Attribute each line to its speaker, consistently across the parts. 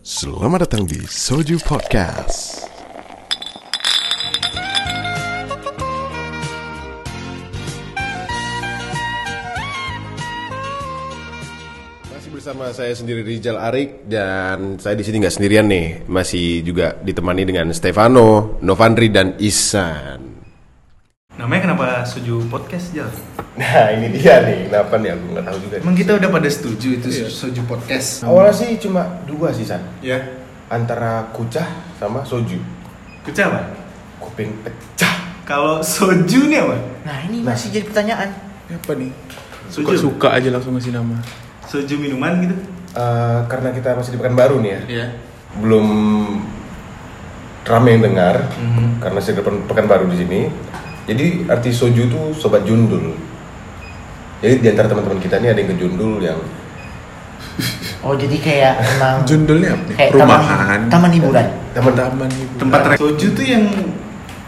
Speaker 1: Selamat datang di Soju Podcast. Masih bersama saya sendiri Rizal Arik dan saya di sini nggak sendirian nih, masih juga ditemani dengan Stefano, Novandri dan Isan.
Speaker 2: Namanya kenapa setuju podcast Jal?
Speaker 1: Nah ini dia nih, kenapa nih aku nggak tahu juga.
Speaker 2: Emang kita udah pada setuju itu
Speaker 3: Iya.
Speaker 2: setuju podcast.
Speaker 3: Oh.
Speaker 1: Awalnya sih cuma dua sih San,
Speaker 2: Iya. Ya.
Speaker 1: antara kucah sama soju.
Speaker 2: Kerja apa?
Speaker 1: Kuping pecah.
Speaker 2: Kalau soju nih apa?
Speaker 4: Nah ini
Speaker 1: Nah.
Speaker 4: masih jadi pertanyaan.
Speaker 3: apa nih
Speaker 2: Soju.
Speaker 3: suka suka aja langsung ngasih nama
Speaker 2: Soju minuman gitu.
Speaker 1: Eh, karena kita masih di Pekanbaru nih ya,
Speaker 3: Iya
Speaker 1: belum ramai yang dengar
Speaker 3: Mhm.
Speaker 1: karena saya di Pekan- Pekanbaru di sini. Jadi arti soju itu sobat jundul. Jadi di antara teman-teman kita ini ada yang ke jundul yang
Speaker 4: Oh jadi kayak emang
Speaker 3: jundulnya apa nih?
Speaker 4: kayak
Speaker 3: rumahan
Speaker 4: Eh, taman, taman hiburan.
Speaker 1: teman-teman
Speaker 3: taman gitu. hiburan.
Speaker 2: Tempat rek- soju tuh yang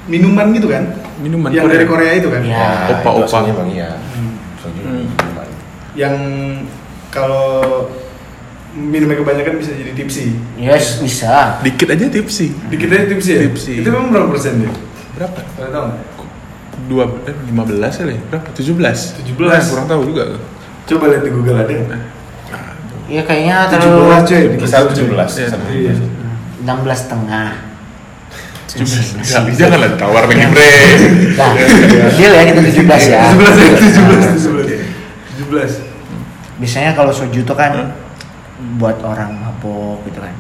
Speaker 2: minuman gitu kan?
Speaker 3: Minuman.
Speaker 2: Yang dari Korea itu kan?
Speaker 4: Iya.
Speaker 1: Nah, itu
Speaker 3: Opa-opa.
Speaker 1: aslinya emang iya. Soju
Speaker 3: Hmm.
Speaker 1: minuman.
Speaker 2: Yang kalau minumnya kebanyakan bisa jadi tipsi.
Speaker 4: Yes bisa.
Speaker 3: dikit aja tipsi
Speaker 2: Dikit aja tipsi ya?
Speaker 3: Tipsi.
Speaker 2: Itu memang berapa persen dia?
Speaker 3: berapa
Speaker 2: Kalau tahu nggak?
Speaker 3: dua eh, lima belas kali ya? berapa tujuh belas Nah,
Speaker 2: 17.
Speaker 3: kurang tahu juga
Speaker 2: Coba lihat di Google ada.
Speaker 4: Iya kayaknya
Speaker 2: 17
Speaker 4: terlalu
Speaker 2: coy.
Speaker 1: Di Kisah 17.
Speaker 3: Iya.
Speaker 1: Kisah 17.
Speaker 2: Iya.
Speaker 4: 16 setengah.
Speaker 3: tujuh belas
Speaker 4: Masih- masih.
Speaker 3: janganlah tawar nih bre
Speaker 4: Nah,
Speaker 3: Iya.
Speaker 1: Iya,
Speaker 4: deal ya kita 17 ya.
Speaker 2: 17 ya, 17, 17.
Speaker 4: Biasanya kalau soju tuh kan buat orang mabok gitu kan.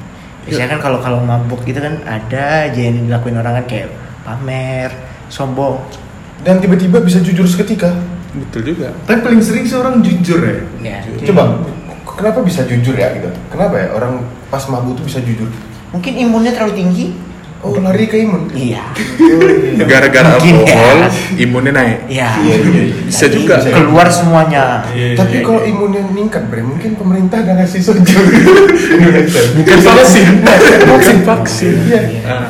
Speaker 4: Biasanya kan kalau kalau mabok gitu kan ada aja yang dilakuin orang kan kayak pamer, sombong.
Speaker 1: Dan tiba-tiba bisa jujur seketika.
Speaker 3: betul juga
Speaker 2: Tapi paling sering sih orang jujur ya.
Speaker 4: Ya.
Speaker 1: Coba kenapa bisa jujur ya gitu? Kenapa ya orang pas mabuk tuh bisa jujur?
Speaker 4: Mungkin imunnya terlalu tinggi.
Speaker 1: Oh lari ke imun.
Speaker 4: Iya.
Speaker 3: gara-gara
Speaker 4: Mungkin ya.
Speaker 3: alkohol imunnya naik
Speaker 4: Iya.
Speaker 1: Iya, iya, iya.
Speaker 3: Bisa
Speaker 4: Jadi
Speaker 3: juga.
Speaker 4: keluar semuanya.
Speaker 2: Iya.
Speaker 1: Tapi
Speaker 3: Iya,
Speaker 1: kalau imunnya meningkat, Bre, mungkin pemerintah gak ngasih soju. Bukan
Speaker 3: vaksin bukan vaksin
Speaker 1: Iya.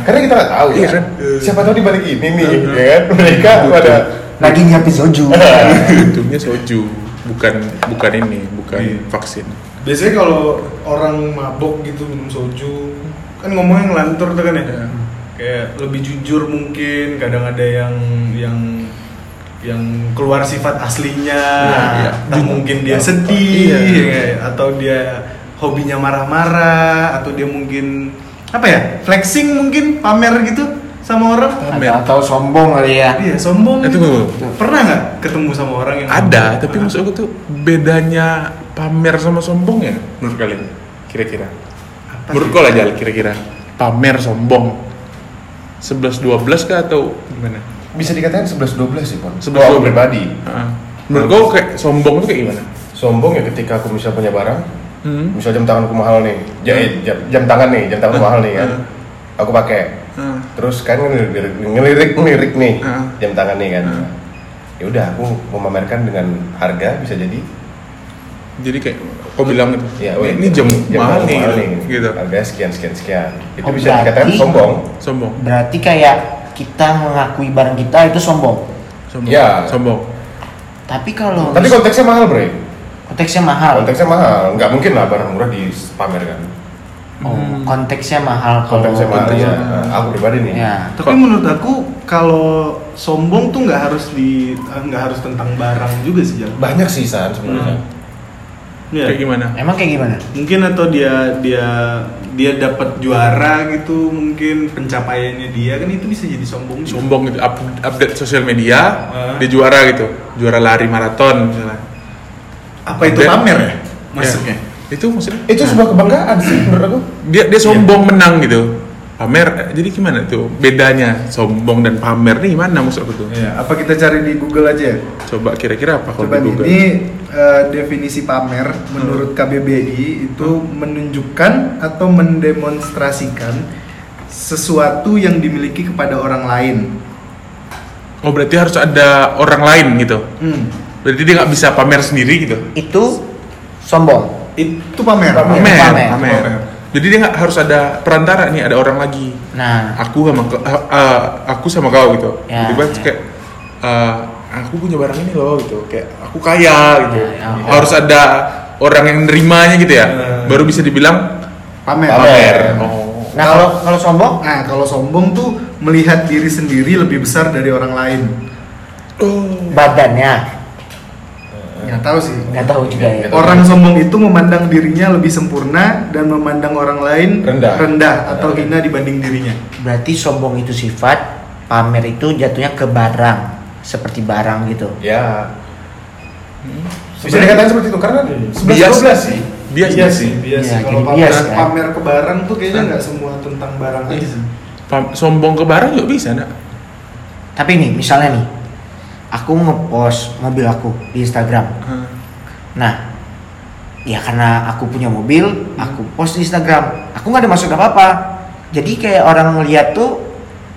Speaker 1: Karena kita nggak tahu ya.
Speaker 3: Iya kan?
Speaker 1: Siapa tahu di balik ini nih, ya kan? Mereka pada
Speaker 4: lagi nyiapin soju
Speaker 3: Iya. untungnya soju bukan bukan ini bukan vaksin
Speaker 2: Biasanya kalau orang mabok gitu minum soju kan ngomongnya ngelantur tuh kan ya. Kayak lebih jujur mungkin, kadang ada yang yang yang keluar sifat aslinya.
Speaker 3: iya.
Speaker 2: Entah mungkin dia sedih
Speaker 3: Iya.
Speaker 2: ya nggak ya? atau dia hobinya marah-marah atau dia mungkin apa ya? Flexing mungkin pamer gitu sama orang.
Speaker 3: Pamer.
Speaker 4: atau sombong kali ya
Speaker 2: Iya, sombong.
Speaker 3: Eh,
Speaker 2: gitu.
Speaker 3: tunggu,
Speaker 2: Pernah nggak ketemu sama orang yang
Speaker 3: ada
Speaker 2: mabok?
Speaker 3: tapi
Speaker 2: Pernah.
Speaker 3: maksud aku tuh bedanya pamer sama sombong ya menurut kalian kira-kira
Speaker 2: Apa
Speaker 3: menurut
Speaker 2: sih?
Speaker 3: kau lah Jal, kira-kira pamer sombong 11 12 kah atau gimana
Speaker 1: bisa dikatakan 11 12 sih, Pon.
Speaker 3: 11-12.
Speaker 1: Kalau aku pribadi,
Speaker 3: Heeh. menurut kau kayak sombong tuh kayak gimana
Speaker 1: sombong ya ketika aku misal punya barang,
Speaker 3: hmm.
Speaker 1: misal jam tanganku mahal nih,
Speaker 3: Iya.
Speaker 1: jahit jam, jam tangan nih, jam tangan mahal nih kan.
Speaker 3: Hmm.
Speaker 1: Aku pakai.
Speaker 3: Heeh.
Speaker 1: Terus kan ngelirik ngelirik, ngelirik nih
Speaker 3: Hmm.
Speaker 1: jam tangan nih kan.
Speaker 3: Hmm.
Speaker 1: Ya udah aku memamerkan dengan harga bisa jadi
Speaker 3: jadi kayak kau bilang gitu
Speaker 1: Ya,
Speaker 3: "Wah,
Speaker 1: weh,
Speaker 3: ini jam, mahal nih gitu, gitu.
Speaker 1: Harga sekian sekian sekian. Itu
Speaker 4: Oh,
Speaker 1: bisa
Speaker 4: berarti-
Speaker 1: dikatakan sombong.
Speaker 3: sombong
Speaker 4: berarti kayak kita mengakui barang kita itu sombong
Speaker 3: sombong
Speaker 1: Ya.
Speaker 3: sombong
Speaker 4: tapi kalau
Speaker 1: Tapi konteksnya mahal, Bre.
Speaker 4: konteksnya mahal
Speaker 1: Konteksnya mahal. Nggak mungkin lah barang murah dipamerkan.
Speaker 4: oh konteksnya mahal kalau
Speaker 1: Hmm. Konteksnya mahal ya. Nah, Aku pribadi nih.
Speaker 4: ya
Speaker 2: Tapi menurut aku kalau sombong tuh nggak harus di nggak harus tentang barang juga sih Jal.
Speaker 1: Banyak sih San sebenarnya.
Speaker 4: Hmm.
Speaker 2: Iya.
Speaker 3: kayak gimana
Speaker 4: emang kayak gimana
Speaker 2: Mungkin atau dia dia dia dapat juara gitu mungkin pencapaiannya dia kan itu bisa jadi sombong juga.
Speaker 3: sombong gitu up- update sosial media
Speaker 2: Heeh.
Speaker 3: dia juara gitu juara lari maraton misalnya
Speaker 2: Apa itu
Speaker 3: Dan-
Speaker 2: pamer ya? Maksudnya.
Speaker 3: Ya. itu maksudnya
Speaker 1: Itu sebuah
Speaker 4: Nah.
Speaker 1: kebanggaan sih menurut aku.
Speaker 3: dia
Speaker 4: Iya.
Speaker 3: dia sombong menang gitu pamer eh, jadi gimana tuh bedanya sombong dan pamer nih gimana maksud aku tuh
Speaker 2: Iya, apa kita cari di Google aja ya?
Speaker 3: coba kira-kira apa kalau
Speaker 2: Coba
Speaker 3: di
Speaker 2: nih,
Speaker 3: Google
Speaker 2: ini eh, definisi pamer menurut KBBI itu menunjukkan atau mendemonstrasikan sesuatu yang dimiliki kepada orang lain.
Speaker 3: oh berarti harus ada orang lain gitu
Speaker 2: Hmm.
Speaker 3: berarti dia nggak bisa pamer sendiri gitu
Speaker 4: itu sombong
Speaker 2: Itu pamer.
Speaker 4: Pamer.
Speaker 3: pamer pamer,
Speaker 4: Pamer.
Speaker 3: jadi dia nggak harus ada perantara nih ada orang lagi
Speaker 4: nah
Speaker 3: aku sama ke- eh, eh, aku sama kau gitu
Speaker 4: Ya,
Speaker 3: tiba-tiba
Speaker 4: ya.
Speaker 3: kayak eh, aku punya barang ini loh gitu kayak aku kaya gitu
Speaker 4: Ya, ya.
Speaker 3: harus ada orang yang nerimanya gitu ya
Speaker 2: Ya.
Speaker 3: baru bisa dibilang
Speaker 2: pamer.
Speaker 5: Pamer.
Speaker 3: Oh.
Speaker 4: Nah kalau kalau sombong,
Speaker 2: Nah, kalau sombong tuh melihat diri sendiri lebih besar dari orang lain.
Speaker 3: Oh.
Speaker 4: badannya
Speaker 2: Nggak Ya, tahu sih.
Speaker 4: nggak tahu
Speaker 1: Iya,
Speaker 4: juga ya.
Speaker 2: Orang sombong itu memandang dirinya lebih sempurna dan memandang orang lain
Speaker 5: Rendah.
Speaker 2: atau hina dibanding dirinya.
Speaker 4: Berarti sombong itu sifat, pamer itu jatuhnya ke barang, seperti barang gitu.
Speaker 1: Iya.
Speaker 5: Ya. Bisa dikatakan seperti itu karena 11 12 sih.
Speaker 3: Bias
Speaker 2: Iya
Speaker 3: Iya sih.
Speaker 2: bias
Speaker 4: Iya,
Speaker 2: sih. Kalau
Speaker 4: jadi
Speaker 2: pamer,
Speaker 4: bias, kan? Nah. Iya
Speaker 2: pamer ke barang tuh kayaknya nggak semua tentang barang aja sih.
Speaker 3: Pam- sombong ke barang juga bisa, nak.
Speaker 4: Tapi nih misalnya nih, aku ngepost mobil aku di Instagram. Nah, ya karena aku punya mobil, aku post di Instagram. Aku nggak ada maksud apa apa. Jadi kayak orang ngeliat tuh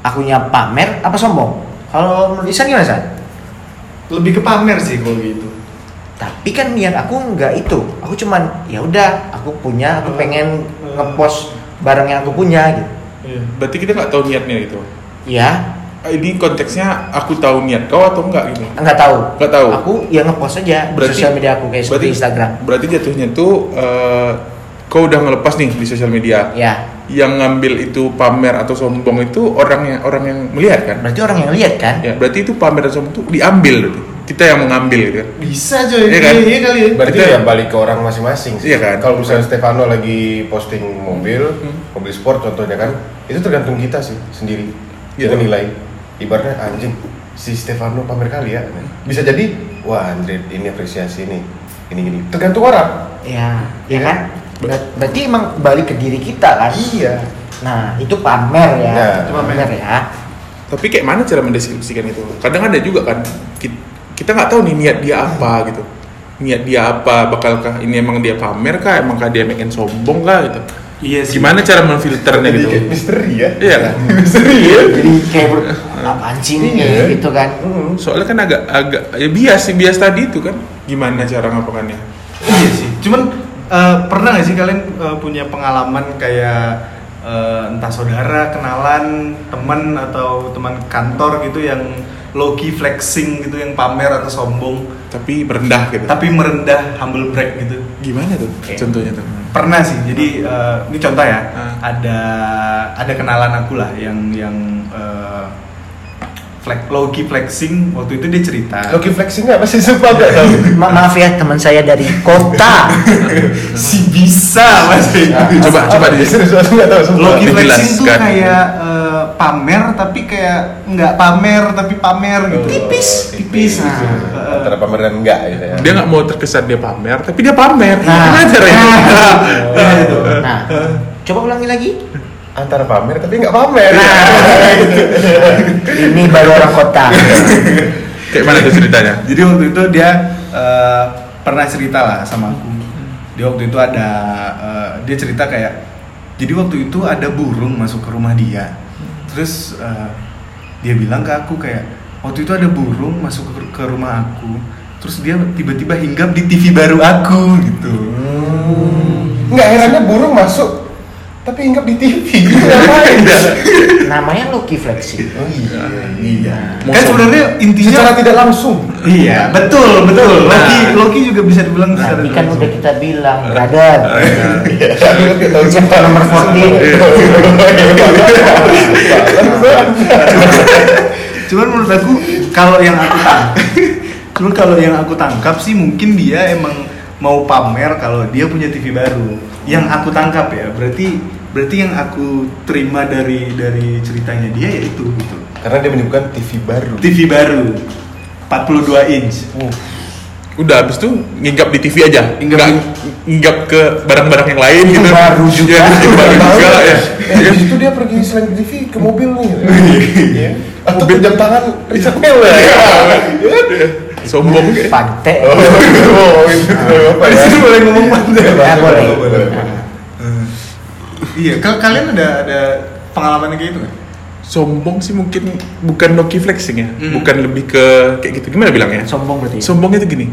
Speaker 4: akunya pamer apa sombong? Kalau menurut Isan gimana San?
Speaker 2: Lebih ke pamer sih kalau gitu.
Speaker 4: tapi kan niat aku nggak itu aku cuman ya udah aku punya aku
Speaker 2: Hmm.
Speaker 4: pengen
Speaker 2: Hmm.
Speaker 4: ngepost barang yang aku punya gitu
Speaker 2: Iya.
Speaker 3: Berarti kita nggak tahu niatnya gitu.
Speaker 4: ya
Speaker 3: Ini konteksnya aku tahu niat kau atau enggak gitu.
Speaker 4: nggak tahu
Speaker 3: Nggak tahu.
Speaker 4: aku ya ngepost aja di
Speaker 3: Berarti-
Speaker 4: sosial media aku kayak seperti Instagram
Speaker 3: Berarti jatuhnya tuh eh, kau udah ngelepas nih di sosial media.
Speaker 4: ya
Speaker 3: Yang ngambil itu pamer atau sombong itu orang yang orang yang melihat kan.
Speaker 4: berarti orang yang lihat kan
Speaker 3: Ya, berarti itu pamer dan sombong itu diambil berarti. Kita yang mengambil gitu kan.
Speaker 2: Bisa coy.
Speaker 3: Iya kan?
Speaker 2: Iya kali ya.
Speaker 5: Berarti
Speaker 3: Betul.
Speaker 5: ya balik ke orang masing-masing sih.
Speaker 3: Iya kan? Hmm.
Speaker 5: Kalau misalnya Stefano lagi posting mobil, mobil sport contohnya kan, itu tergantung kita sih sendiri.
Speaker 3: Iya.
Speaker 5: Kita nilai. Ibaratnya anjing si Stefano pamer kali ya. Bisa jadi wah Andre ini apresiasi nih. Ini gini. Tergantung orang.
Speaker 4: ya ya
Speaker 5: Iya.
Speaker 4: kan Ber- berarti emang balik ke diri kita kan
Speaker 5: Iya.
Speaker 4: nah itu pamer ya
Speaker 5: Nah,
Speaker 4: itu
Speaker 5: itu
Speaker 4: pamer,
Speaker 2: pamer.
Speaker 4: ya
Speaker 3: Tapi kayak mana cara mendeskripsikan itu? Kadang ada juga kan ki- kita nggak tahu nih niat dia apa gitu. Niat dia apa? Bakalkah ini emang dia pamer kah? Emangkah dia pengen sombong kah gitu?
Speaker 2: Iya sih.
Speaker 3: Gimana cara memfilternya
Speaker 5: Jadi
Speaker 3: gitu?
Speaker 5: kayak misteri ya.
Speaker 3: Iya kan?
Speaker 5: misteri ya.
Speaker 4: jadi kayak ber- apaan sih nih
Speaker 5: Iya.
Speaker 4: kayak gitu kan
Speaker 3: Soalnya kan agak agak ya bias sih bias tadi itu kan. Gimana cara ngapakannya?
Speaker 2: Iya sih. Cuman eh, pernah nggak sih kalian eh, punya pengalaman kayak eh, entah saudara, kenalan, teman atau teman kantor gitu yang low key flexing gitu, yang pamer atau sombong,
Speaker 3: Tapi merendah gitu.
Speaker 2: tapi merendah, humble brag gitu.
Speaker 3: Gimana tuh contohnya tuh?
Speaker 2: Pernah sih. Jadi eh, ini contoh ya.
Speaker 3: Hmm.
Speaker 2: Ada ada kenalan aku lah yang yang eh, flex, low key flexing waktu itu dia cerita.
Speaker 5: Loki flexing nggak masih sumpah nggak tahu.
Speaker 4: Ma- maaf ya teman saya dari kota
Speaker 2: Si bisa mas.
Speaker 3: Iya.
Speaker 1: Iya.
Speaker 3: Coba coba di
Speaker 5: serius aku nggak tahu sumpah.
Speaker 2: Logi flexing tuh
Speaker 3: Dijelaskan.
Speaker 2: kayak eh, pamer tapi kayak nggak pamer tapi pamer gitu. tipis.
Speaker 5: tipis.
Speaker 2: Nah,
Speaker 5: Antara pamer dan enggak gitu ya.
Speaker 3: dia nggak mau terkesan dia pamer, tapi dia pamer.
Speaker 4: Nah.
Speaker 3: Gimana caranya?
Speaker 2: Nah, itu.
Speaker 4: nah coba ulangi lagi
Speaker 5: Antara pamer tapi nggak pamer.
Speaker 3: Iya.
Speaker 4: ini baru orang kota
Speaker 3: Kayak mana tuh ceritanya?
Speaker 2: Jadi waktu itu dia eh, pernah cerita lah sama aku. Dia waktu itu ada eh, dia cerita kayak jadi waktu itu ada burung masuk ke rumah dia. Terus eh, dia bilang ke aku kayak waktu itu ada burung masuk ke, ke rumah aku. Terus dia tiba-tiba hinggap di TV baru aku gitu.
Speaker 5: Nggak herannya burung masuk tapi hinggap di TV. Ngapain?
Speaker 4: namanya Loki Flexi
Speaker 5: Oh iya.
Speaker 2: Iya.
Speaker 3: Mau
Speaker 2: Kan
Speaker 3: sombong.
Speaker 2: sebenarnya intinya
Speaker 5: Secara tidak langsung.
Speaker 2: Iya, betul, betul. Loki, Loki juga bisa dibilang secara
Speaker 4: tapi kan
Speaker 2: langsung.
Speaker 4: udah kita bilang brother
Speaker 5: Nggak tahu
Speaker 4: chapter nomor 14
Speaker 1: Iya.
Speaker 2: Cuman menurut aku kalau yang aku tangkap, cuman kalau yang aku tangkap sih mungkin dia emang mau pamer kalau dia punya TV baru. Yang aku tangkap ya, berarti berarti yang aku terima dari dari ceritanya dia yaitu gitu.
Speaker 5: Karena dia menyebutkan TV baru.
Speaker 2: TV baru 42 inch.
Speaker 3: Udah habis tuh nginggap di TV aja.
Speaker 2: Nginggap-
Speaker 3: Nggak nginggap ke barang-barang yang lain gitu.
Speaker 4: baru juga.
Speaker 3: Ya, itu baru juga ya.
Speaker 5: Eh, di situ dia pergi selain ke TV ke mobil nih. Iya. Atau pinjam tangan Richard Miller. ya.
Speaker 3: Iya, Sombong ya. kayak.
Speaker 4: pantai
Speaker 5: Oh, itu apa
Speaker 2: Di
Speaker 5: ya?
Speaker 2: sini boleh ngomong panjang.
Speaker 4: ya boleh
Speaker 2: Iya, kalau kalian ada ada pengalaman kayak gitu nggak?
Speaker 3: Sombong sih mungkin bukan Loki flexing ya.
Speaker 2: Hmm.
Speaker 3: Bukan lebih ke kayak gitu. Gimana bilangnya?
Speaker 4: sombong berarti ya?
Speaker 3: Sombongnya tuh gini.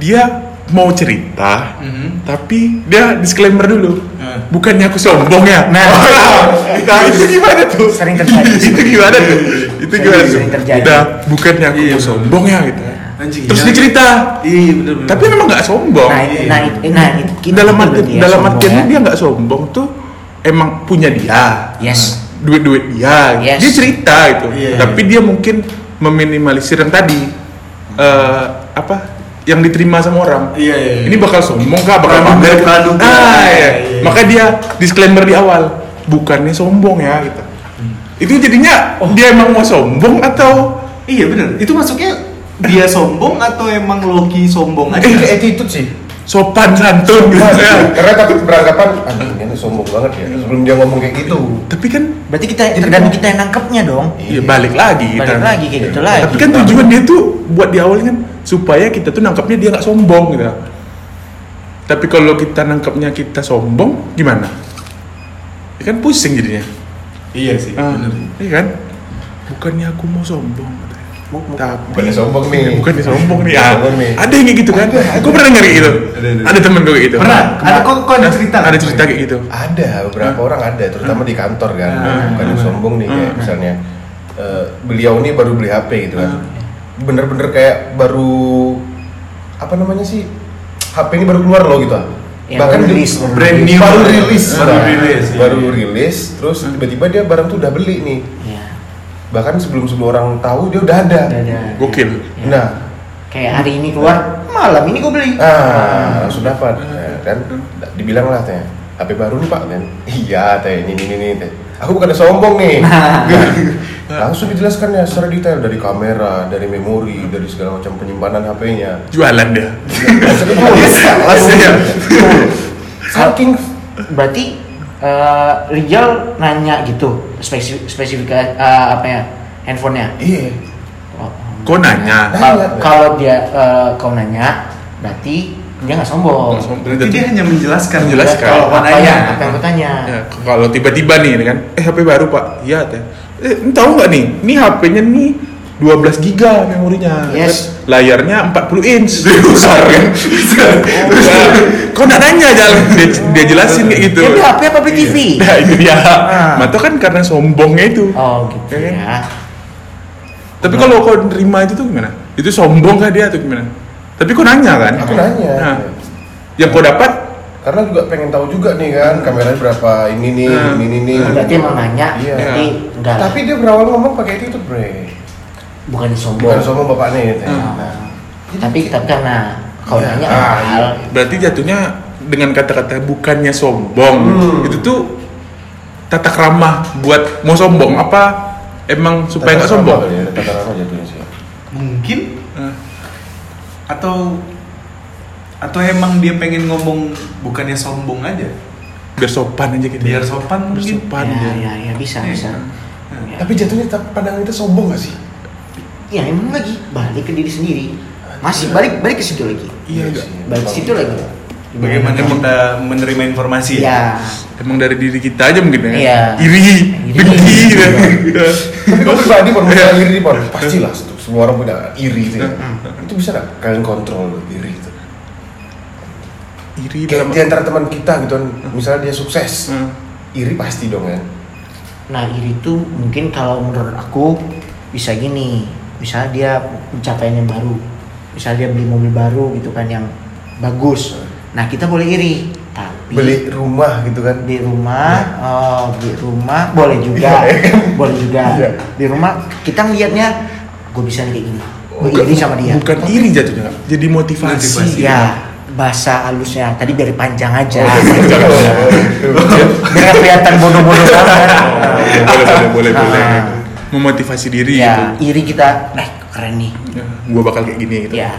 Speaker 3: Dia mau cerita,
Speaker 2: Hmm.
Speaker 3: tapi dia disclaimer dulu.
Speaker 2: Eh.
Speaker 3: Bukannya aku sombong ya.
Speaker 4: Nah.
Speaker 3: nah itu gimana tuh?
Speaker 4: Sering terjadi.
Speaker 3: itu gimana tuh? Itu
Speaker 4: Sering-
Speaker 3: gimana tuh?
Speaker 4: sering terjadi.
Speaker 3: Nah, bukannya aku
Speaker 2: Iya,
Speaker 3: mau
Speaker 2: betul.
Speaker 3: sombong ya gitu.
Speaker 2: Eh, Anjing.
Speaker 3: Terus
Speaker 2: iya.
Speaker 3: dia cerita.
Speaker 2: Iya bener bener.
Speaker 3: Tapi memang nggak sombong.
Speaker 4: nah, itu, nah, itu, nah, itu, itu
Speaker 3: dalam
Speaker 4: juga
Speaker 3: arti,
Speaker 4: dia
Speaker 3: dalam
Speaker 4: sombong
Speaker 3: artian
Speaker 4: ya.
Speaker 3: dia nggak sombong tuh emang punya dia.
Speaker 4: Yes.
Speaker 3: Duit-duit dia.
Speaker 4: Yes.
Speaker 3: Dia cerita gitu.
Speaker 2: Iya,
Speaker 3: Tapi dia mungkin meminimalisir yang tadi eh, apa yang diterima sama orang.
Speaker 2: Iya iya.
Speaker 3: Ini bakal sombong kah? Bakal
Speaker 2: Praduga,
Speaker 3: pamer kah?
Speaker 2: praduga.
Speaker 3: Ah, iya.
Speaker 2: Iya.
Speaker 3: Maka dia disclaimer di awal, bukannya sombong ya gitu. Itu jadinya dia emang mau sombong atau
Speaker 2: Iya bener. Itu masuknya dia sombong atau emang Loki sombong aja?
Speaker 3: Eh,
Speaker 1: Itu attitude sih.
Speaker 3: sopan santun gitu ya.
Speaker 1: Karena takut beranggapan, anjing ini anak sombong banget ya. Sebelum dia ngomong kayak gitu.
Speaker 3: Tapi kan
Speaker 4: Berarti kita tergantung kita yang nangkepnya dong.
Speaker 3: ya balik lagi
Speaker 4: Balik
Speaker 3: kita.
Speaker 4: lagi kayak gitu lagi.
Speaker 3: Tapi kan tujuan dia tuh buat di awal kan supaya kita tuh nangkapnya dia nggak sombong gitu. Tapi kalau kita nangkapnya kita sombong gimana? Ya kan pusing jadinya.
Speaker 2: Iya sih.
Speaker 3: Ah,
Speaker 2: Bener.
Speaker 3: Iya kan? Bukannya aku mau sombong. katanya. Tapi
Speaker 1: Bukannya sombong nih.
Speaker 3: Bukannya sombong nih.
Speaker 1: Bukannya
Speaker 3: ah.
Speaker 1: sombong nih.
Speaker 3: Ada yang kayak gitu kan? Aku pernah nggak kayak gitu?
Speaker 2: Ada, ada.
Speaker 3: Ada temen gue kayak gitu.
Speaker 2: Pernah? Ada kok kok ada cerita?
Speaker 3: Ada cerita kayak gitu.
Speaker 1: Ada beberapa
Speaker 2: Hmm.
Speaker 1: orang ada, terutama di kantor kan.
Speaker 2: Ah.
Speaker 1: Bukan yang sombong nih
Speaker 2: Hmm.
Speaker 1: kayak misalnya eh, beliau nih baru beli HP gitu kan.
Speaker 2: Hmm.
Speaker 1: Bener-bener kayak baru apa namanya sih? HP ini baru keluar loh gitu. ah.
Speaker 4: Ya, baru
Speaker 1: di-
Speaker 4: rilis, baru
Speaker 2: brand new.
Speaker 1: baru rilis,
Speaker 2: Baru
Speaker 1: Nah,
Speaker 2: rilis, iya. Hmm.
Speaker 1: baru rilis, terus tiba-tiba dia barang tuh udah beli nih.
Speaker 4: Iya.
Speaker 1: Bahkan sebelum sebelum orang tahu dia udah ada.
Speaker 4: Ada.
Speaker 3: Gokil.
Speaker 1: Nah,
Speaker 4: Iya. Kayak hari ini keluar, malam ini gue beli.
Speaker 1: ah langsung dapat ya, kan dibilang lah teh HP baru nih pak kan iya teh ini ini ini teh aku bukan sombong nih langsung dijelaskan ya secara detail dari kamera dari memori dari segala macam penyimpanan HP-nya
Speaker 3: Jualan dia. Iya.
Speaker 1: Langsung- saking
Speaker 4: Berarti eh, Rijal nanya gitu spesifik spesifika eh, apa ya handphonenya.
Speaker 1: iya
Speaker 4: Oh,
Speaker 3: Kok nanya?
Speaker 4: Kalau- Kalau dia eh, kau nanya, berarti dia nggak sombong.
Speaker 2: Jadi dia hanya menjelaskan.
Speaker 3: Menjelaskan.
Speaker 2: Kalau mau
Speaker 4: apa yang apa
Speaker 2: nanya.
Speaker 4: yang gue tanya?
Speaker 3: Ya, kalau tiba-tiba nih kan, eh HP baru pak, iya teh. Eh, ini tahu nggak nih? Ini HP-nya nih 12 giga memorinya. Kan
Speaker 4: Yes.
Speaker 3: Layarnya 40 inch. Besar kan? Terus, kok nggak nanya jalan? Dia, dia jelasin kayak gitu.
Speaker 4: Dia beli HP apa beli TV?
Speaker 3: Nah itu dia. Mata kan karena sombongnya itu.
Speaker 4: Oh gitu
Speaker 3: Iya kan?
Speaker 4: ya.
Speaker 3: Tapi kalau kau nerima itu tuh gimana? Itu sombong kah dia atau gimana? Tapi kau nanya kan?
Speaker 1: aku nanya
Speaker 3: Nah, yang kau dapat
Speaker 1: karena juga pengen tahu juga nih kan kameranya berapa ini nih
Speaker 3: Hmm.
Speaker 1: ini ini nih
Speaker 4: Berarti emang nanya,
Speaker 1: Iya.
Speaker 4: berarti enggak lah.
Speaker 1: tapi dia berawal ngomong pakai itu tuh bre
Speaker 4: bukan sombong. Ah.
Speaker 1: bukan sombong bapak nih teh. Nah.
Speaker 4: Tapi tapi karena kau
Speaker 1: Iya.
Speaker 4: nanya
Speaker 1: Ah,
Speaker 4: hal
Speaker 3: berarti jatuhnya dengan kata-kata bukannya sombong
Speaker 1: Hmm.
Speaker 3: itu tuh tata krama buat mau sombong apa emang supaya nggak sombong
Speaker 1: Tata krama kali ya, tata krama jatuhnya sih.
Speaker 2: Mungkin
Speaker 3: Eh,
Speaker 2: atau atau emang dia pengen ngomong bukannya sombong aja
Speaker 3: biar sopan aja gitu
Speaker 2: biar sopan
Speaker 3: biar
Speaker 2: mungkin
Speaker 3: sopan
Speaker 4: ya,
Speaker 3: dia.
Speaker 4: ya, ya bisa
Speaker 2: Iya.
Speaker 4: bisa. Ya.
Speaker 1: Tapi jatuhnya tetap pandangan kita sombong gak sih?
Speaker 4: Ya emang lagi balik ke diri sendiri.
Speaker 1: Iya.
Speaker 4: Masih balik balik ke situ lagi.
Speaker 3: Iya,
Speaker 1: sih.
Speaker 4: Balik ke situ gitu. lagi. Iya.
Speaker 2: bagaimana kita menerima informasi
Speaker 3: Iya,
Speaker 4: Ya.
Speaker 3: emang dari diri kita aja mungkin ya
Speaker 4: Iya.
Speaker 3: iri
Speaker 4: Iri. Iya.
Speaker 3: dengki gitu.
Speaker 1: Tapi kalau pribadi pun
Speaker 3: Iya.
Speaker 1: punya iri pun pastilah stu- semua orang punya iri itu. ya.
Speaker 3: Iya.
Speaker 1: Itu bisa gak kalian kontrol loh, iri itu?
Speaker 3: iri
Speaker 1: Kayak
Speaker 3: dalam
Speaker 1: di antara teman kita gitu kan, misalnya dia sukses,
Speaker 3: Eh,
Speaker 1: iri pasti dong
Speaker 4: Iya.
Speaker 1: kan?
Speaker 4: Nah iri itu mungkin kalau menurut aku bisa gini, misalnya dia pencapaian yang baru, misalnya dia beli mobil baru gitu kan yang bagus. Nah kita boleh iri, tapi
Speaker 1: Beli rumah gitu kan?
Speaker 4: di rumah, oh, di rumah boleh juga, boleh juga
Speaker 1: Iya.
Speaker 4: di rumah kita ngeliatnya gue bisa nih kayak gini, gue iri sama dia. Iya,
Speaker 3: bukan iri jatuhnya jadi motivasi,
Speaker 2: Motivasi.
Speaker 4: Ya bahasa halusnya tadi biar panjang aja,
Speaker 1: Iya.
Speaker 4: biar nggak kelihatan bodoh-bodoh banget.
Speaker 3: boleh boleh boleh
Speaker 4: Ah.
Speaker 3: boleh memotivasi diri
Speaker 4: ya
Speaker 3: gitu
Speaker 4: iri kita, eh keren nih.
Speaker 3: Ya, gua bakal kayak gini gitu
Speaker 2: Ah,
Speaker 4: Ya.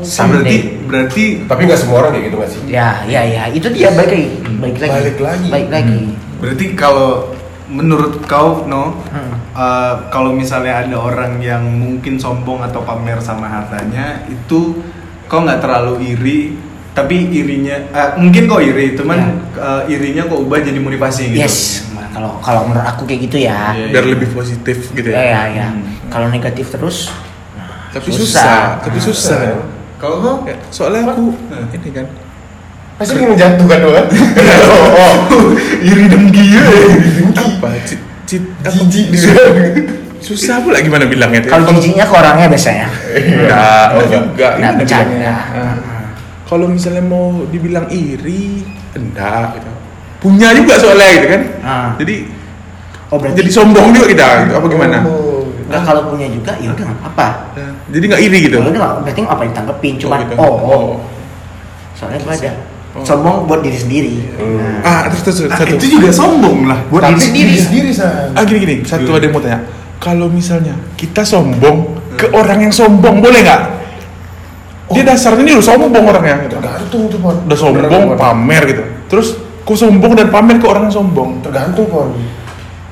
Speaker 2: berarti
Speaker 4: Someday.
Speaker 2: berarti
Speaker 1: Tapi gak semua orang kayak gitu gak sih?
Speaker 4: Ya, ya, ya. Itu dia balik lagi. Balik lagi.
Speaker 1: Balik lagi.
Speaker 4: Balik lagi.
Speaker 2: berarti kalau menurut kau no
Speaker 4: Hmm.
Speaker 2: eh, kalau misalnya ada orang yang mungkin sombong atau pamer sama hartanya itu kau nggak terlalu iri tapi irinya eh, mungkin kau iri cuman eh, irinya kau ubah jadi motivasi gitu
Speaker 4: Ya. Yes. Nah, Kalau kalau menurut aku kayak gitu ya.
Speaker 2: Iya.
Speaker 3: biar lebih positif gitu
Speaker 4: Ya, ya, ya.
Speaker 2: Hmm.
Speaker 4: Kalau negatif terus,
Speaker 3: tapi
Speaker 4: Susah.
Speaker 3: susah, tapi susah
Speaker 1: Susah.
Speaker 2: kalau kau
Speaker 3: Ya, soalnya aku ini kan
Speaker 1: Pasti pengen jatuh kan oh. doang?
Speaker 3: iri dengki ya apa cit cit apa
Speaker 1: Jijik.
Speaker 3: su- susah pula gimana bilangnya tuh ya.
Speaker 4: Kalau jijiknya ke orangnya biasanya.
Speaker 3: Enggak, enggak
Speaker 1: enggak.
Speaker 3: juga.
Speaker 4: Nah,
Speaker 3: Gimana
Speaker 4: bercanda.
Speaker 3: bilangnya?
Speaker 4: iya.
Speaker 3: Ah. Kalau misalnya mau dibilang iri, enggak gitu. Punya juga soalnya gitu kan.
Speaker 4: Ah.
Speaker 3: Jadi
Speaker 4: Oh berarti
Speaker 3: jadi sombong juga kita gitu. Apa gimana?
Speaker 1: Oh.
Speaker 4: Nah, kalau punya juga ya udah nggak apa.
Speaker 3: Nah, Jadi nggak iri gitu.
Speaker 4: Ya udah nggak- berarti nggak apa ditanggepin, cuman
Speaker 3: gitu.
Speaker 4: oh, oh, soalnya gue ada
Speaker 3: Oh.
Speaker 4: sombong buat diri sendiri. Nah,
Speaker 3: Ah, terus terus
Speaker 2: Ah,
Speaker 3: satu.
Speaker 2: itu juga sombong lah
Speaker 4: buat diri sendiri.
Speaker 1: sendiri san
Speaker 3: Ah gini gini, satu ada yang mau tanya. Kalau misalnya kita sombong ke orang yang sombong boleh nggak? Oh. Dia
Speaker 1: Oh.
Speaker 3: dasarnya ini udah sombong orangnya gitu.
Speaker 1: tergantung tuh pon
Speaker 3: Udah sombong
Speaker 1: Tergantung, Pon.
Speaker 3: pamer gitu. Terus kok sombong dan pamer ke orang yang sombong?
Speaker 1: tergantung pon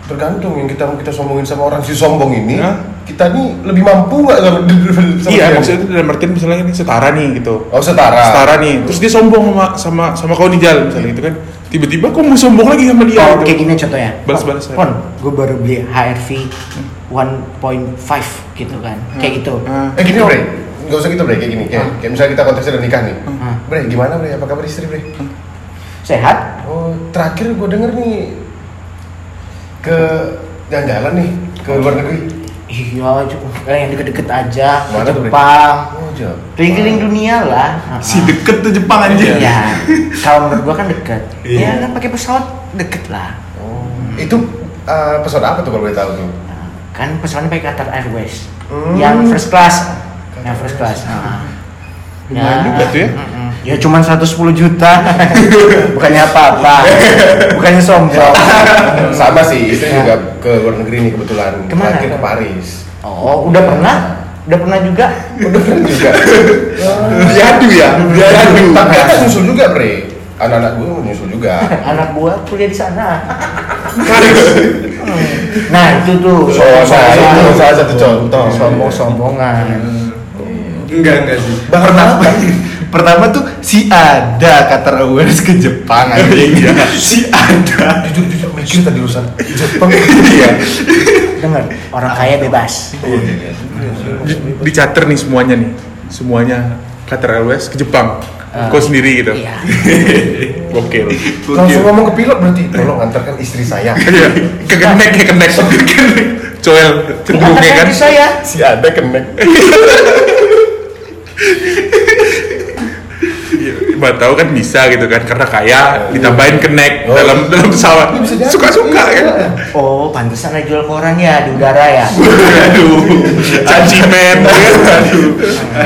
Speaker 1: tergantung yang kita kita sombongin sama orang si sombong ini
Speaker 3: Hah?
Speaker 1: kita nih lebih mampu nggak sama, sama
Speaker 3: iya,
Speaker 1: dia?
Speaker 3: maksudnya itu dalam artian misalnya ini setara nih gitu.
Speaker 1: oh setara
Speaker 3: Setara nih. Terus dia sombong sama sama sama kau Nijal misalnya gitu kan. Tiba-tiba kok mau sombong lagi sama dia
Speaker 4: Oh, kayak
Speaker 3: gitu.
Speaker 4: gini contohnya.
Speaker 3: Balas-balasan.
Speaker 4: Pon, gue baru beli HRV 1.5 gitu kan. Kayak gitu.
Speaker 3: Ah.
Speaker 1: eh gini bre nggak usah gitu bre kayak gini kayak, kayak misalnya kita konteksnya udah nikah nih
Speaker 4: Hmm.
Speaker 1: bre gimana bre apa kabar istri bre
Speaker 4: Sehat?
Speaker 1: oh terakhir gue denger nih ke jalan-jalan nih ke luar negeri
Speaker 4: Iya, cuma yang deket-deket aja ke
Speaker 1: Mana tuh, Bre?
Speaker 4: Jepang.
Speaker 1: oh jauh
Speaker 4: Keliling dunia lah.
Speaker 2: si deket tuh Jepang anjir
Speaker 4: Ah. Iya. Kalau menurut gua kan deket.
Speaker 2: Iya.
Speaker 4: Ya kan pakai pesawat deket lah.
Speaker 1: oh. itu eh, pesawat apa tuh kalau boleh tahu tuh
Speaker 4: Nah, kan pesawatnya pakai Qatar Airways.
Speaker 1: Hmm.
Speaker 4: Yang first class. Yang first class. Nah.
Speaker 3: Lumayan juga tuh ya.
Speaker 4: mm-mm. Ya cuman 110 juta. Bukannya apa-apa. Bukannya sombong.
Speaker 1: sama sih istri
Speaker 4: Ya.
Speaker 1: juga ke luar negeri nih kebetulan
Speaker 4: Kemana?
Speaker 1: terakhir ke Paris
Speaker 4: Oh, udah pernah? Udah pernah juga?
Speaker 1: udah keren juga
Speaker 3: Diadu ya. Diadu.
Speaker 1: tapi aku nyusul juga bre anak-anak gue nyusul juga
Speaker 4: Anak gua kuliah di sana.
Speaker 3: Karis.
Speaker 4: Nah, itu tuh.
Speaker 1: so, saya itu salah satu contoh
Speaker 4: Sombong-sombongan.
Speaker 2: enggak enggak Iya, sih
Speaker 6: pertama pertama tuh si ada Qatar Airways ke Jepang anjing
Speaker 1: Iya.
Speaker 6: si ada
Speaker 1: jujur jujur mikir tadi urusan Jepang
Speaker 3: Iya.
Speaker 4: Dengar, orang kaya bebas.
Speaker 3: Di- dicater nih semuanya nih semuanya Qatar Airways ke Jepang kau sendiri gitu
Speaker 4: Iya.
Speaker 3: gokil
Speaker 1: langsung ngomong ke pilot berarti tolong antarkan istri saya
Speaker 3: iya kekenek ya kenek Kekenek. coel cenderungnya kan
Speaker 4: Kata saya.
Speaker 1: si ada kenek
Speaker 3: Iya, tahu kan bisa gitu kan karena kaya ditambahin kenek dalam dalam pesawat suka suka
Speaker 1: Iya.
Speaker 3: kan
Speaker 4: Oh, pantesan ada jual koran ya di udara ya.
Speaker 3: aduh caci men kan?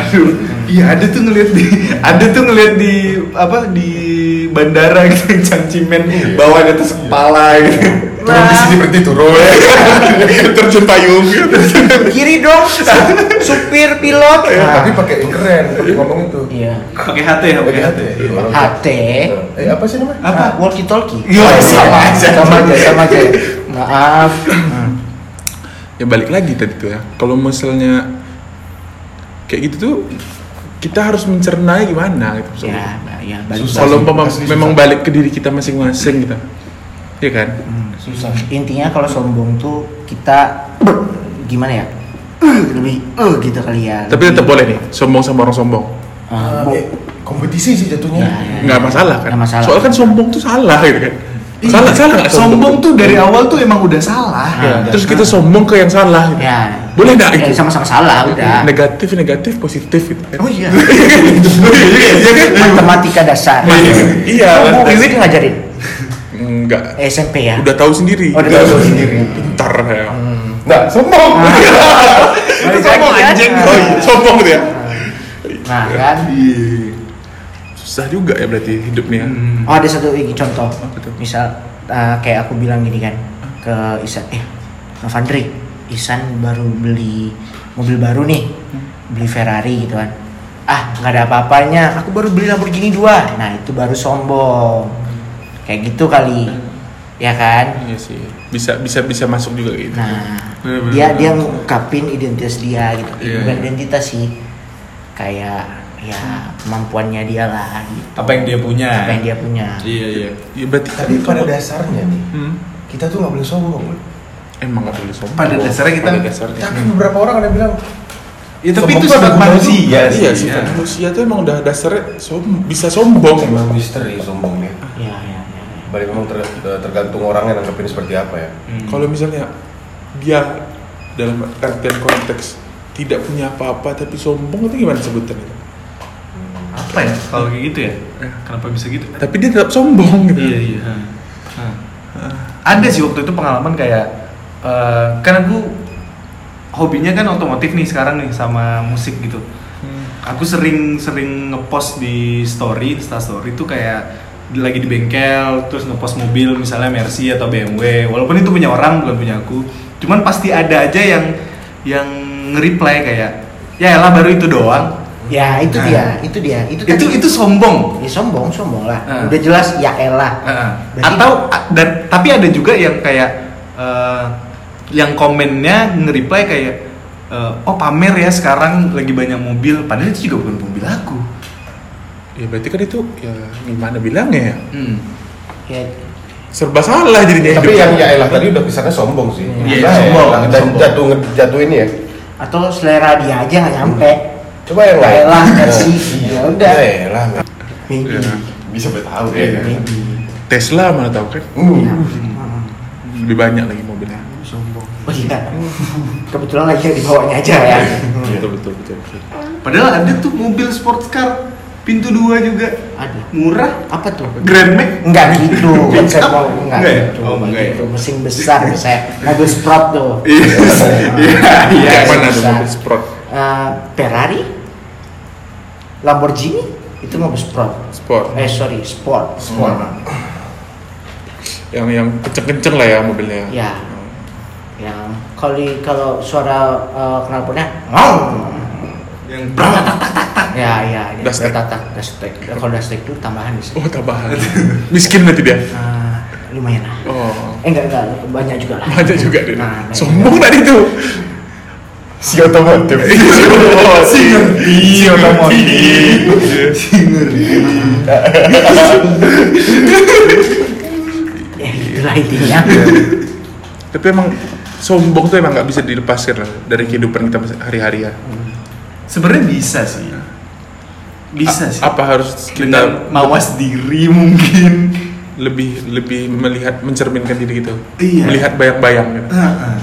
Speaker 3: aduh
Speaker 6: iya ada tuh ngeliat di ada tuh ngeliat di apa di bandara gitu yang cancimen
Speaker 4: Iya.
Speaker 6: bawa di atas kepala gitu
Speaker 1: turun di sini berarti turun
Speaker 3: terjun payung
Speaker 4: Kiri dong, supir pilot.
Speaker 3: Iya,
Speaker 1: Eh,
Speaker 4: Nah,
Speaker 1: tapi pakai yang keren pakai ngomong itu
Speaker 4: iya.
Speaker 6: pakai HT ya
Speaker 1: pakai
Speaker 6: pakai
Speaker 1: hati ya? Iya, orang-
Speaker 4: HT.
Speaker 1: eh apa sih namanya
Speaker 6: Apa?
Speaker 4: Walkie talkie.
Speaker 6: Iya, sama aja.
Speaker 4: Sama aja, sama aja. Maaf.
Speaker 3: ya balik lagi tadi tuh ya kalau misalnya kayak gitu tuh kita harus mencernanya gimana gitu
Speaker 4: Ya,
Speaker 3: misalnya.
Speaker 4: ya, balik.
Speaker 1: Susah.
Speaker 3: kalau
Speaker 1: sih,
Speaker 3: umpama
Speaker 1: asli
Speaker 3: memang
Speaker 1: susah.
Speaker 3: balik ke diri kita masing-masing gitu Iya kan
Speaker 1: susah
Speaker 4: Hmm, Intinya kalau sombong tuh kita gimana ya? Lebih eh gitu kali ya.
Speaker 3: tapi tetap boleh nih sombong sama orang sombong
Speaker 4: Ah, bu-
Speaker 1: Eh, kompetisi sih jatuhnya
Speaker 4: Ya, ya.
Speaker 3: nggak masalah kan
Speaker 4: Nggak masalah.
Speaker 3: soalnya kan sombong tuh salah gitu kan
Speaker 6: Iya.
Speaker 3: salah salah nggak
Speaker 6: sombong tuh dari awal tuh emang udah salah
Speaker 3: Iya. terus kita sombong ke yang salah gitu.
Speaker 4: Ya.
Speaker 3: boleh nggak
Speaker 4: Ya,
Speaker 3: gitu
Speaker 4: sama-sama salah udah.
Speaker 3: negatif negatif positif gitu kan
Speaker 4: Oh iya.
Speaker 3: iya kan
Speaker 4: Matematika dasar.
Speaker 3: Iya,
Speaker 4: Oh, Bu
Speaker 3: matematika.
Speaker 4: Wiwit ngajarin
Speaker 3: nggak
Speaker 4: SMP ya.
Speaker 3: udah tahu sendiri
Speaker 4: Oh, udah tahu Hmm.
Speaker 1: Tahu sendiri
Speaker 3: pintar ya
Speaker 1: nah sombong
Speaker 4: Ah. Balik lagi kan?
Speaker 3: oh iya sombong gitu ya
Speaker 4: Nah kan.
Speaker 3: susah juga ya berarti hidupnya
Speaker 4: Oh ada satu lagi contoh.
Speaker 3: Hmm. Apa tuh?
Speaker 4: Misal uh, kayak aku bilang gini kan ke Isan, eh Novandri, Isan baru beli mobil baru nih,
Speaker 3: Hmm.
Speaker 4: beli Ferrari gitu kan. Ah nggak ada apa-apanya, aku baru beli Lamborghini dua. Nah itu baru sombong. Kayak gitu kali,
Speaker 3: Hmm.
Speaker 4: ya kan?
Speaker 3: iya sih bisa bisa bisa masuk juga gitu
Speaker 4: Nah,
Speaker 3: Bener-bener.
Speaker 4: dia dia ngungkapin identitas dia gitu.
Speaker 3: Iya.
Speaker 4: Bukan identitas sih. Kayak ya kemampuannya dia lah gitu.
Speaker 2: apa yang dia punya
Speaker 4: Apa yang dia punya.
Speaker 2: iya iya
Speaker 3: ya berarti
Speaker 1: tapi pada dasarnya nih
Speaker 3: Hmm,
Speaker 1: kita tuh nggak boleh sombong loh.
Speaker 4: Hmm.
Speaker 3: emang nggak boleh sombong
Speaker 6: Pada dasarnya kita-
Speaker 3: pada dasarnya
Speaker 1: tapi beberapa orang ada yang bilang
Speaker 6: ya tapi
Speaker 1: Sombong
Speaker 6: itu
Speaker 1: tuh
Speaker 6: sifat
Speaker 1: ada gunanya juga.
Speaker 6: manusia
Speaker 3: iya sih kan manusia tuh emang udah dasarnya som- bisa sombong
Speaker 1: emang misteri sombongnya
Speaker 4: Iya, iya, iya.
Speaker 1: eh, ya. balik memang ter- tergantung orangnya nanggepin seperti apa ya
Speaker 3: kalau misalnya dia dalam artian konteks tidak punya apa-apa tapi sombong itu gimana sebutan itu?
Speaker 2: apa ya kalau kayak gitu ya kenapa bisa gitu
Speaker 3: Tapi dia tetap sombong gitu.
Speaker 2: iya iya Hah. ada sih waktu itu pengalaman kayak eh karena gue hobinya kan otomotif nih sekarang nih sama musik gitu aku sering-sering ngepost di story insta story itu kayak di- lagi di bengkel terus ngepost mobil misalnya Mercy atau BMW walaupun itu punya orang bukan punya aku cuman pasti ada aja yang yang nge-reply kayak ya elah baru itu doang
Speaker 4: ya itu
Speaker 2: Nah.
Speaker 4: dia itu dia
Speaker 2: itu
Speaker 4: itu
Speaker 2: kan
Speaker 4: tadi-
Speaker 2: itu sombong Nah.
Speaker 4: ya sombong sombong lah
Speaker 2: Ah.
Speaker 4: udah jelas ya elah
Speaker 2: Heeh.
Speaker 4: Berarti-
Speaker 2: atau a- dan tapi ada juga yang kayak eh, yang komennya nge-reply kayak eh, oh pamer ya sekarang lagi banyak mobil padahal itu juga bukan mobil aku.
Speaker 3: Ya berarti kan itu ya gimana bilangnya ya?
Speaker 2: Hmm.
Speaker 4: ya
Speaker 3: Serba salah jadinya
Speaker 1: Tapi
Speaker 3: hidup.
Speaker 1: yang ya elah tadi udah kesannya sombong sih.
Speaker 2: Iya,
Speaker 1: Nah,
Speaker 2: sombong,
Speaker 1: elah, Dan
Speaker 2: sombong.
Speaker 1: jatuh jatuh ini ya.
Speaker 4: atau selera dia aja nggak nyampe
Speaker 2: Hmm.
Speaker 1: Coba yang
Speaker 4: Ya
Speaker 1: lain.
Speaker 4: elah,
Speaker 1: Nah,
Speaker 4: Mercy.
Speaker 1: iya.
Speaker 4: Ya udah.
Speaker 1: Ya elah. Mer-
Speaker 3: Ya.
Speaker 4: maybe
Speaker 1: Bisa bertahu ya.
Speaker 3: Iya. Tesla mana tahu kan Uh.
Speaker 1: Hmm.
Speaker 4: Hmm.
Speaker 3: lebih banyak lagi mobilnya.
Speaker 4: oh iya kebetulan lagi di bawahnya aja ya
Speaker 2: Iya.
Speaker 3: Betul betul betul. betul.
Speaker 2: Padahal ada tuh mobil sports car pintu dua juga
Speaker 4: ada
Speaker 2: murah
Speaker 4: apa tuh
Speaker 2: Grand Max
Speaker 4: Enggak gitu, konsep
Speaker 2: Enggak.
Speaker 4: mau enggak
Speaker 2: Enggak ya?
Speaker 4: gitu.
Speaker 2: Oh, enggak ya.
Speaker 4: gitu. Mesin besar saya mobil Sprott tuh.
Speaker 2: Iya, iya.
Speaker 3: Kayak mana tuh
Speaker 4: susah.
Speaker 3: mobil Sprott?
Speaker 4: Eh, Ferrari, Lamborghini itu mobil Sprott.
Speaker 3: Sport.
Speaker 4: Eh sorry, Sport. Hmm. Sport.
Speaker 3: Yang yang kenceng-kenceng lah ya mobilnya.
Speaker 4: Ya. Yang kalau di- kalau suara eh, knalpotnya ngong.
Speaker 2: yang berat.
Speaker 4: Ya, ya, ya.
Speaker 3: Das tag.
Speaker 4: Tatak, das tag. Kalau das tag itu tambahan bisa.
Speaker 3: Oh tambahan. Miskin nanti dia.
Speaker 4: Eh, lumayan lah.
Speaker 3: Oh
Speaker 4: Eh enggak enggak banyak juga lah.
Speaker 3: banyak juga dia.
Speaker 4: Nah, banyak
Speaker 3: Sombong tadi tuh.
Speaker 1: Si otomotif.
Speaker 3: Si ngerti. Si
Speaker 4: juga. Ya, itulah intinya.
Speaker 3: Tapi emang sombong tuh emang nggak bisa dilepaskan lah dari kehidupan kita hari-hari ya.
Speaker 2: Sebenarnya bisa sih. Bisa sih.
Speaker 3: A- apa harus kita
Speaker 2: Dengan mawas diri mungkin.
Speaker 3: lebih lebih melihat mencerminkan diri gitu
Speaker 2: Iya.
Speaker 3: melihat bayang-bayang gitu.
Speaker 2: Heeh.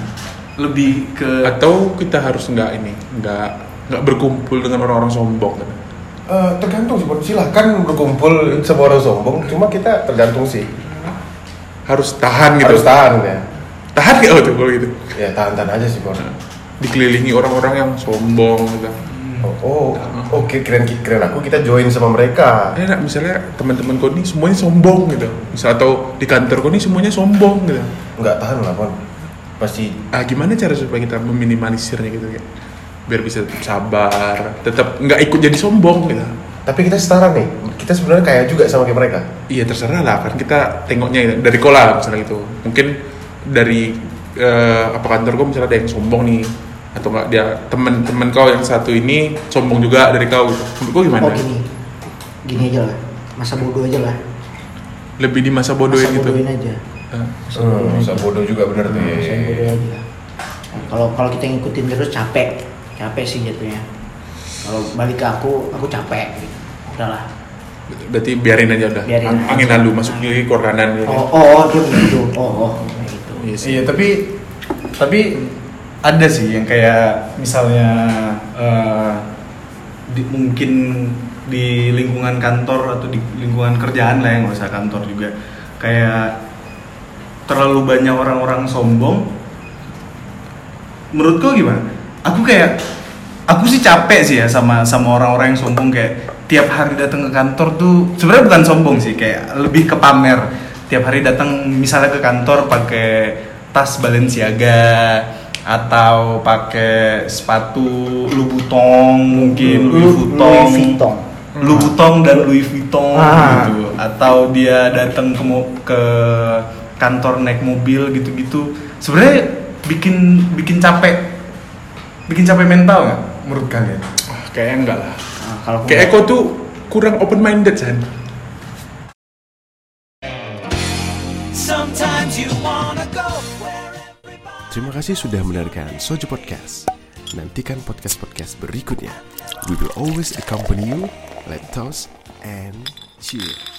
Speaker 2: Lebih ke
Speaker 3: atau kita harus nggak ini nggak nggak berkumpul dengan orang-orang sombong gitu.
Speaker 1: Eh, tergantung sih, Bon. silahkan berkumpul sama orang sombong. Cuma kita tergantung sih,
Speaker 3: harus tahan gitu
Speaker 1: harus tahan ya.
Speaker 3: tahan nggak tuh kalau gitu
Speaker 1: Ya tahan-tahan aja sih, Bon.
Speaker 3: dikelilingi orang-orang yang sombong gitu
Speaker 1: Oh, oh, oke keren keren aku kita join sama mereka.
Speaker 3: enak misalnya teman-teman kau nih semuanya sombong gitu misal atau di kantor kau nih semuanya sombong gitu
Speaker 1: Nggak tahan lah, Bon. Pasti
Speaker 3: ah gimana cara supaya kita meminimalisirnya gitu ya biar bisa tetap sabar tetap nggak ikut jadi sombong gitu
Speaker 1: tapi kita setara nih. Kita sebenarnya kaya juga sama kayak mereka.
Speaker 3: Iya terserah lah kan kita tengoknya ya, dari kolam misalnya gitu. Mungkin dari eh, apa kantor gue misalnya ada yang sombong nih atau enggak dia temen-temen kau yang satu ini sombong juga dari kau. gitu. Menurut gue gimana?
Speaker 4: Oh gini, gini aja lah, masa bodoh aja lah,
Speaker 3: Lebih di masa bodohin
Speaker 4: masa
Speaker 3: gitu.
Speaker 4: bodohin aja,
Speaker 3: Hah?
Speaker 4: masa bodohin
Speaker 1: Hmm,
Speaker 4: aja,
Speaker 1: masa bodoh juga bener tuh.
Speaker 4: masa
Speaker 1: ya.
Speaker 4: bodoh aja lah. Nah, Kalau kalau kita ngikutin terus capek, capek sih jatuhnya. Kalau balik ke aku, aku capek. Gitu. Udahlah.
Speaker 3: Berarti biarin aja udah.
Speaker 4: Biarin
Speaker 3: Ang-
Speaker 4: aja.
Speaker 3: Angin lalu masuk lagi ke kanan gitu.
Speaker 4: Oh oh dia begitu, oh oh kayak gitu.
Speaker 3: Iya sih.
Speaker 2: Iya tapi tapi ada sih yang kayak misalnya eh, di- mungkin di lingkungan kantor atau di lingkungan kerjaan lah yang nggak usah kantor juga kayak terlalu banyak orang-orang sombong. Menurut kau gimana? Aku kayak aku sih capek sih ya sama sama orang-orang yang sombong kayak tiap hari datang ke kantor tuh sebenarnya bukan sombong sih kayak lebih ke pamer tiap hari datang misalnya ke kantor pakai tas Balenciaga atau pakai sepatu Louboutin mungkin Louis
Speaker 4: Lu- Louis
Speaker 2: Vuitton
Speaker 4: Vuitton.
Speaker 2: Louboutin dan Louis Vuitton
Speaker 4: Ah.
Speaker 2: gitu atau dia datang ke mo- ke kantor naik mobil gitu-gitu sebenarnya bikin bikin capek bikin capek mental nggak menurut kalian?
Speaker 3: Ah, kayaknya enggak lah.
Speaker 4: Nah, kalau aku
Speaker 3: Kayak kau tuh kurang open minded San.
Speaker 5: Terima kasih sudah mendengarkan Soju Podcast. Nantikan podcast-podcast berikutnya. We will always accompany you. Let toast and cheers.